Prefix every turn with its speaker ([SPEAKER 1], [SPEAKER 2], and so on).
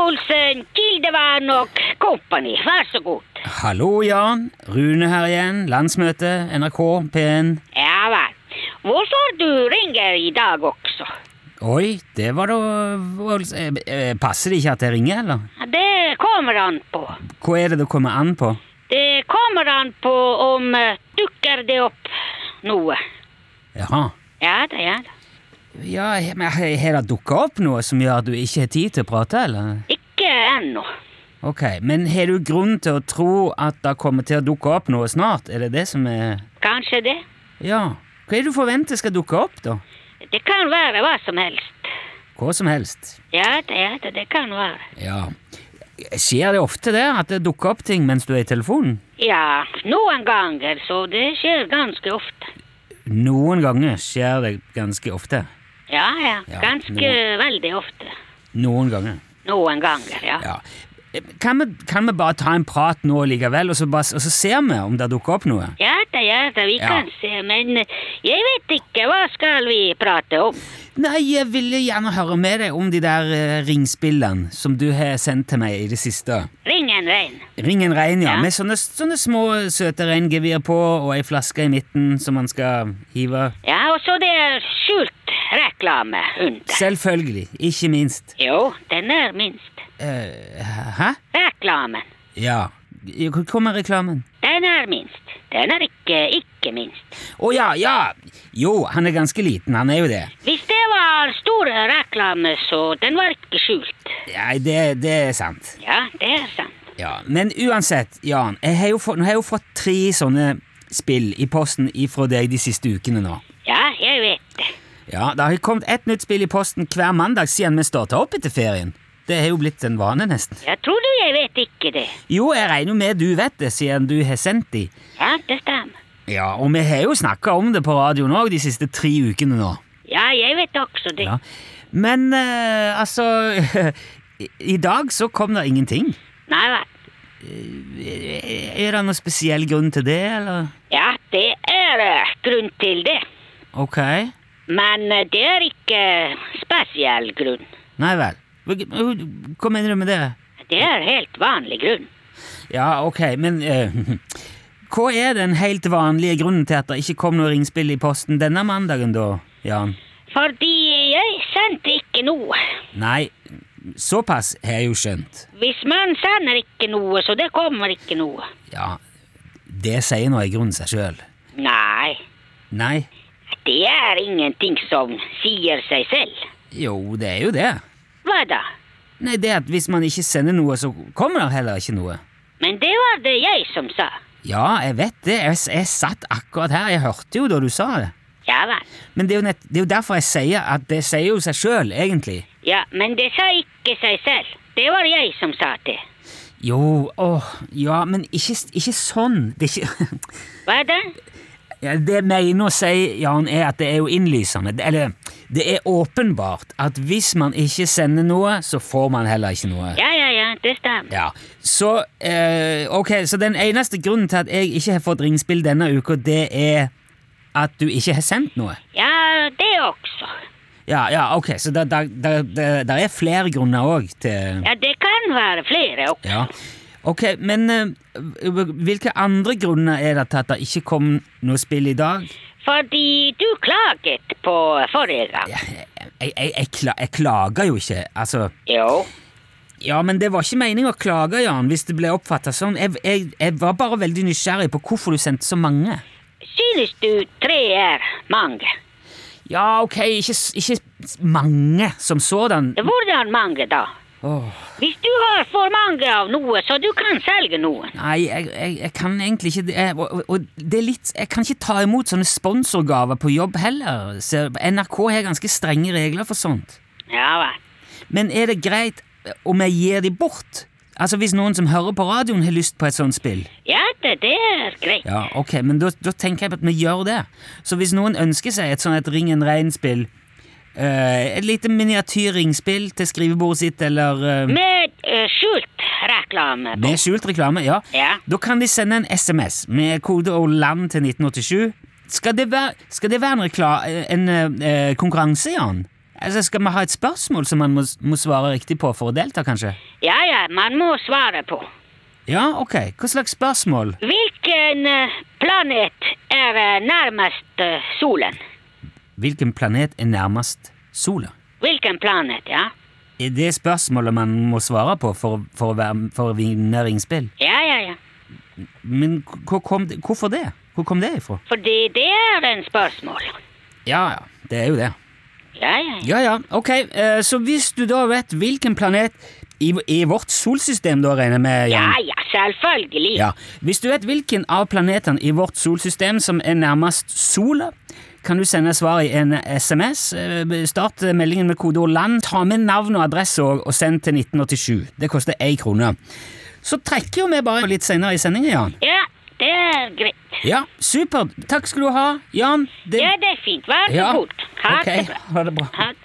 [SPEAKER 1] Olsen, Kildevann og kompani, vær så god.
[SPEAKER 2] Hallo, Jan. Rune her igjen. Landsmøte, NRK, P1.
[SPEAKER 1] Ja vel. Hvorfor du ringer i dag også?
[SPEAKER 2] Oi, det var da volds- eh, eh, Passer det ikke at jeg ringer, eller?
[SPEAKER 1] Det kommer an på.
[SPEAKER 2] Hva er det det kommer an på?
[SPEAKER 1] Det kommer an på om eh, dukker det opp noe.
[SPEAKER 2] Jaha.
[SPEAKER 1] Ja da, ja da.
[SPEAKER 2] Ja, he- men he- Har det dukka opp noe som gjør at du ikke har tid til å prate, eller?
[SPEAKER 1] Ikke ennå.
[SPEAKER 2] Ok, Men har du grunn til å tro at det kommer til å dukke opp noe snart? Er det det som er
[SPEAKER 1] Kanskje det.
[SPEAKER 2] Ja. Hva er det du forventer skal dukke opp, da?
[SPEAKER 1] Det kan være hva som helst.
[SPEAKER 2] Hva som helst.
[SPEAKER 1] Ja da, ja da, det kan være.
[SPEAKER 2] Ja. Skjer det ofte det, at det dukker opp ting mens du er i telefonen?
[SPEAKER 1] Ja, noen ganger, så det skjer ganske ofte.
[SPEAKER 2] Noen ganger skjer det ganske ofte.
[SPEAKER 1] Ja, ja,
[SPEAKER 2] Ja,
[SPEAKER 1] ganske
[SPEAKER 2] noen-
[SPEAKER 1] veldig ofte.
[SPEAKER 2] Noen ganger.
[SPEAKER 1] Noen ganger, ja.
[SPEAKER 2] Ja. Kan vi, kan vi bare ta en prat nå likevel, og så, bare, og så ser vi om det dukker opp noe?
[SPEAKER 1] Ja da, ja da, vi
[SPEAKER 2] Ja.
[SPEAKER 1] kan se, men jeg vet ikke, hva skal vi prate om?
[SPEAKER 2] Nei, jeg ville gjerne høre med deg om de der eh, ringspillene som du har sendt til meg i det siste.
[SPEAKER 1] Ring en rein.
[SPEAKER 2] Ring en rein, ja.
[SPEAKER 1] Ja.
[SPEAKER 2] Med sånne, sånne små søte reingevir på og ei flaske i midten som man skal hive.
[SPEAKER 1] Ja, og så det er skjult reklame under.
[SPEAKER 2] Selvfølgelig. Ikke minst.
[SPEAKER 1] Jo, den er minst.
[SPEAKER 2] Eh, hæ?
[SPEAKER 1] Reklamen,
[SPEAKER 2] Ja. Hvor kommer reklamen?
[SPEAKER 1] den er minst. Den er ikke, ikke minst.
[SPEAKER 2] Å ja, ja! Jo, han er ganske liten, han er jo det.
[SPEAKER 1] Hvis det var store reklame, så den var ikke skjult.
[SPEAKER 2] Nei, det, det er sant.
[SPEAKER 1] Ja, det er sant.
[SPEAKER 2] Ja, Men uansett, Jan, jeg har jo fått, nå har jeg jo fått tre sånne spill i posten ifra deg de siste ukene nå.
[SPEAKER 1] Ja, jeg vet det.
[SPEAKER 2] Ja, Det har kommet ett nytt spill i posten hver mandag siden vi starta opp etter ferien. Det har jo blitt en vane, nesten.
[SPEAKER 1] Jeg tror du jeg vet ikke det.
[SPEAKER 2] Jo, jeg regner jo med du vet det, siden du har sendt de.
[SPEAKER 1] Ja, det stemmer.
[SPEAKER 2] Ja, Og vi har jo snakka om det på radioen òg de siste tre ukene nå.
[SPEAKER 1] Ja, jeg vet også det.
[SPEAKER 2] Ja. Men eh, altså i, I dag så kom det ingenting. Eh,
[SPEAKER 1] Nei vel.
[SPEAKER 2] Er det noen spesiell grunn til det, eller?
[SPEAKER 1] Ja, det er eh, grunn til det.
[SPEAKER 2] Ok.
[SPEAKER 1] Men eh, det er ikke spesiell grunn.
[SPEAKER 2] Nei vel. Hva- Hva mener du med det?
[SPEAKER 1] Det er helt vanlig grunn.
[SPEAKER 2] Ja, ok, men eh, Hva er den helt vanlige grunnen til at det ikke kom noe ringspill i posten denne mandagen, da, Jan?
[SPEAKER 1] Fordi jeg sendte ikke noe.
[SPEAKER 2] Nei, såpass har jeg jo skjønt.
[SPEAKER 1] Hvis man sender ikke noe, så det kommer ikke noe.
[SPEAKER 2] Ja, det sier nå i grunnen seg sjøl.
[SPEAKER 1] Nei,
[SPEAKER 2] Nei,
[SPEAKER 1] det er ingenting som sier seg selv.
[SPEAKER 2] jo, det er jo det.
[SPEAKER 1] Hva da?
[SPEAKER 2] Nei, det at hvis man ikke sender noe, så kommer det heller ikke noe.
[SPEAKER 1] Men det var det jeg som sa.
[SPEAKER 2] Ja, jeg vet det. Jeg, jeg satt akkurat her. Jeg hørte jo da du sa det.
[SPEAKER 1] Ja vel.
[SPEAKER 2] Men det er jo, nett, det er jo derfor jeg sier at det sier jo seg sjøl, egentlig.
[SPEAKER 1] Ja, men det sa ikke seg selv. Det var jeg som sa det.
[SPEAKER 2] Jo, åh, ja, men ikke, ikke sånn. Det er ikke
[SPEAKER 1] Hva da?
[SPEAKER 2] Ja, Det jeg mener å si, Jan, er at det er jo innlysende. Det- Eller, det er åpenbart at hvis man ikke sender noe, så får man heller ikke noe.
[SPEAKER 1] Ja, ja, ja, det stemmer.
[SPEAKER 2] Ja, Så eh, ok, så den eneste grunnen til at jeg ikke har fått ringspill denne uka, det er at du ikke har sendt noe?
[SPEAKER 1] Ja, det også.
[SPEAKER 2] Ja, ja, ok, så det er flere grunner òg til
[SPEAKER 1] Ja, det kan være flere også.
[SPEAKER 2] Ja. Ok, men eh, hvilke andre grunner er det til at det ikke kom noe spill i dag?
[SPEAKER 1] Fordi du klaget på forrige gang.
[SPEAKER 2] Jeg, jeg, jeg, kla- jeg klager jo ikke, altså.
[SPEAKER 1] Jo.
[SPEAKER 2] Ja, men det var ikke meningen å klage, Jan, hvis det ble oppfattet sånn. Jeg, jeg, jeg var bare veldig nysgjerrig på hvorfor du sendte så mange.
[SPEAKER 1] Synes du tre er mange?
[SPEAKER 2] Ja, ok, ikke, s- ikke s- mange som sådan.
[SPEAKER 1] Hvordan mange da?
[SPEAKER 2] Åh,
[SPEAKER 1] Hvis du har for mange av noe, så du kan selge noen.
[SPEAKER 2] nei, jeg, jeg, jeg kan egentlig ikke det. Jeg- Og, og- og det er litt Jeg kan ikke ta imot sånne sponsorgaver på jobb heller. Så NRK har ganske strenge regler for sånt.
[SPEAKER 1] Ja vel.
[SPEAKER 2] Men er det greit om jeg gir de bort? Altså Hvis noen som hører på radioen, har lyst på et sånt spill?
[SPEAKER 1] Ja, det, det er greit.
[SPEAKER 2] Ja, ok, men da, da tenker jeg på at vi gjør det. Så hvis noen ønsker seg et sånn et Ring en rein-spill, eh, et lite miniatyrringspill til skrivebordet sitt eller eh,
[SPEAKER 1] Med eh, skjult reklame. på.
[SPEAKER 2] med skjult reklame, ja,
[SPEAKER 1] Ja.
[SPEAKER 2] da kan de sende en SMS med kode og land til 1987. Skal det være, skal det være en, rekla, en eh, eh, konkurranse, Jan? Altså, skal vi ha et spørsmål som man må, må svare riktig på for å delta, kanskje?
[SPEAKER 1] Ja, ja, man må svare på.
[SPEAKER 2] Ja, ok. Hva slags spørsmål?
[SPEAKER 1] Hvilken eh, planet er eh, nærmest eh, solen?
[SPEAKER 2] Hvilken planet er nærmest sola?
[SPEAKER 1] Hvilken planet, ja?
[SPEAKER 2] Er det spørsmålet man må svare på for, for, å, være, for å vinne ringspill?
[SPEAKER 1] Ja, ja, ja.
[SPEAKER 2] Men k- hvor kom det, hvorfor det? Hvor kom det ifra?
[SPEAKER 1] Fordi det er en spørsmål.
[SPEAKER 2] Ja, ja. Det er jo det.
[SPEAKER 1] Ja, ja, ja.
[SPEAKER 2] Ja, ja. Ok, eh, så hvis du da vet hvilken planet i, i vårt solsystem, da regner jeg med,
[SPEAKER 1] Ja,
[SPEAKER 2] Jan?
[SPEAKER 1] ja, selvfølgelig.
[SPEAKER 2] Mm. Ja. Hvis du vet hvilken av planetene i vårt solsystem som er nærmest sola, kan du sende svaret i en SMS. Eh, Start eh, meldingen med kodeord 'land'. Ta med navn og adresse og, og send til 1987. Det koster én krone. Så trekker jo vi bare litt senere i sendingen, Jan.
[SPEAKER 1] Ja, det er greit.
[SPEAKER 2] Ja, Supert. Takk skal du ha, Jan. Det-
[SPEAKER 1] Ja, det er fint. Vær så
[SPEAKER 2] Ja.
[SPEAKER 1] god. Ha
[SPEAKER 2] Ok,
[SPEAKER 1] det bra.
[SPEAKER 2] Ha det bra.
[SPEAKER 1] Ha det.